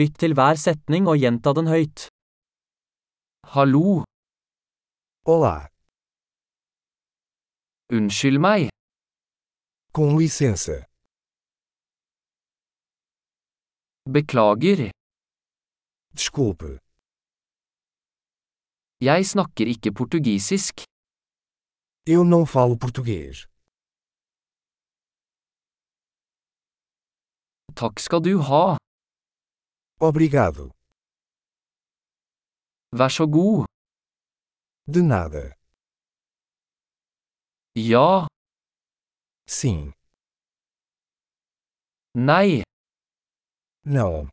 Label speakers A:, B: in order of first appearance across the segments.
A: Lytt til hver setning og gjenta den høyt. Hallo,
B: Olá,
A: unnskyld meg,
B: com licença.
A: beklager,
B: Desculpe,
A: jeg snakker ikke portugisisk,
B: eu não falo português.
A: takk skal du ha,
B: Obrigado.
A: vær så god,
B: De nada.
A: ja,
B: Sim.
A: nei,
B: Não.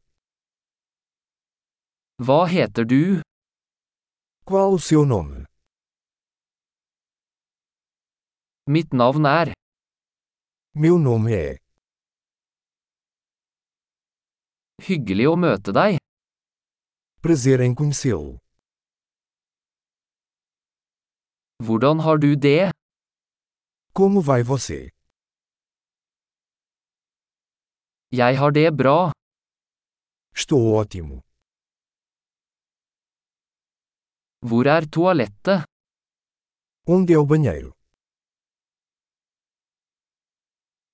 A: hva heter du,
B: Qual o seu nome?
A: mitt navn er,
B: Meu nome é.
A: hyggelig å møte deg,
B: Prazer em conhecê-lo.
A: hvordan har du det,
B: Como vai você?
A: jeg har det bra,
B: Estou ótimo.
A: hvor er toalettet,
B: Onde é o banheiro?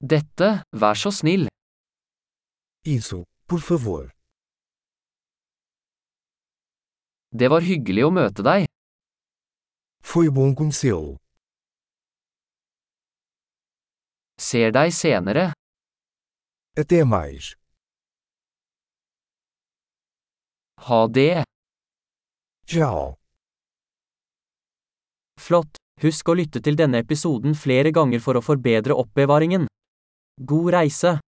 A: dette, vær så snill,
B: Isso, por favor.
A: det var hyggelig å møte deg,
B: Foi bom conhecê-lo.
A: ser deg senere,
B: Até mais.
A: ha det,
B: Tchau.
A: flott, husk å lytte til denne episoden flere ganger for å forbedre oppbevaringen. God reise!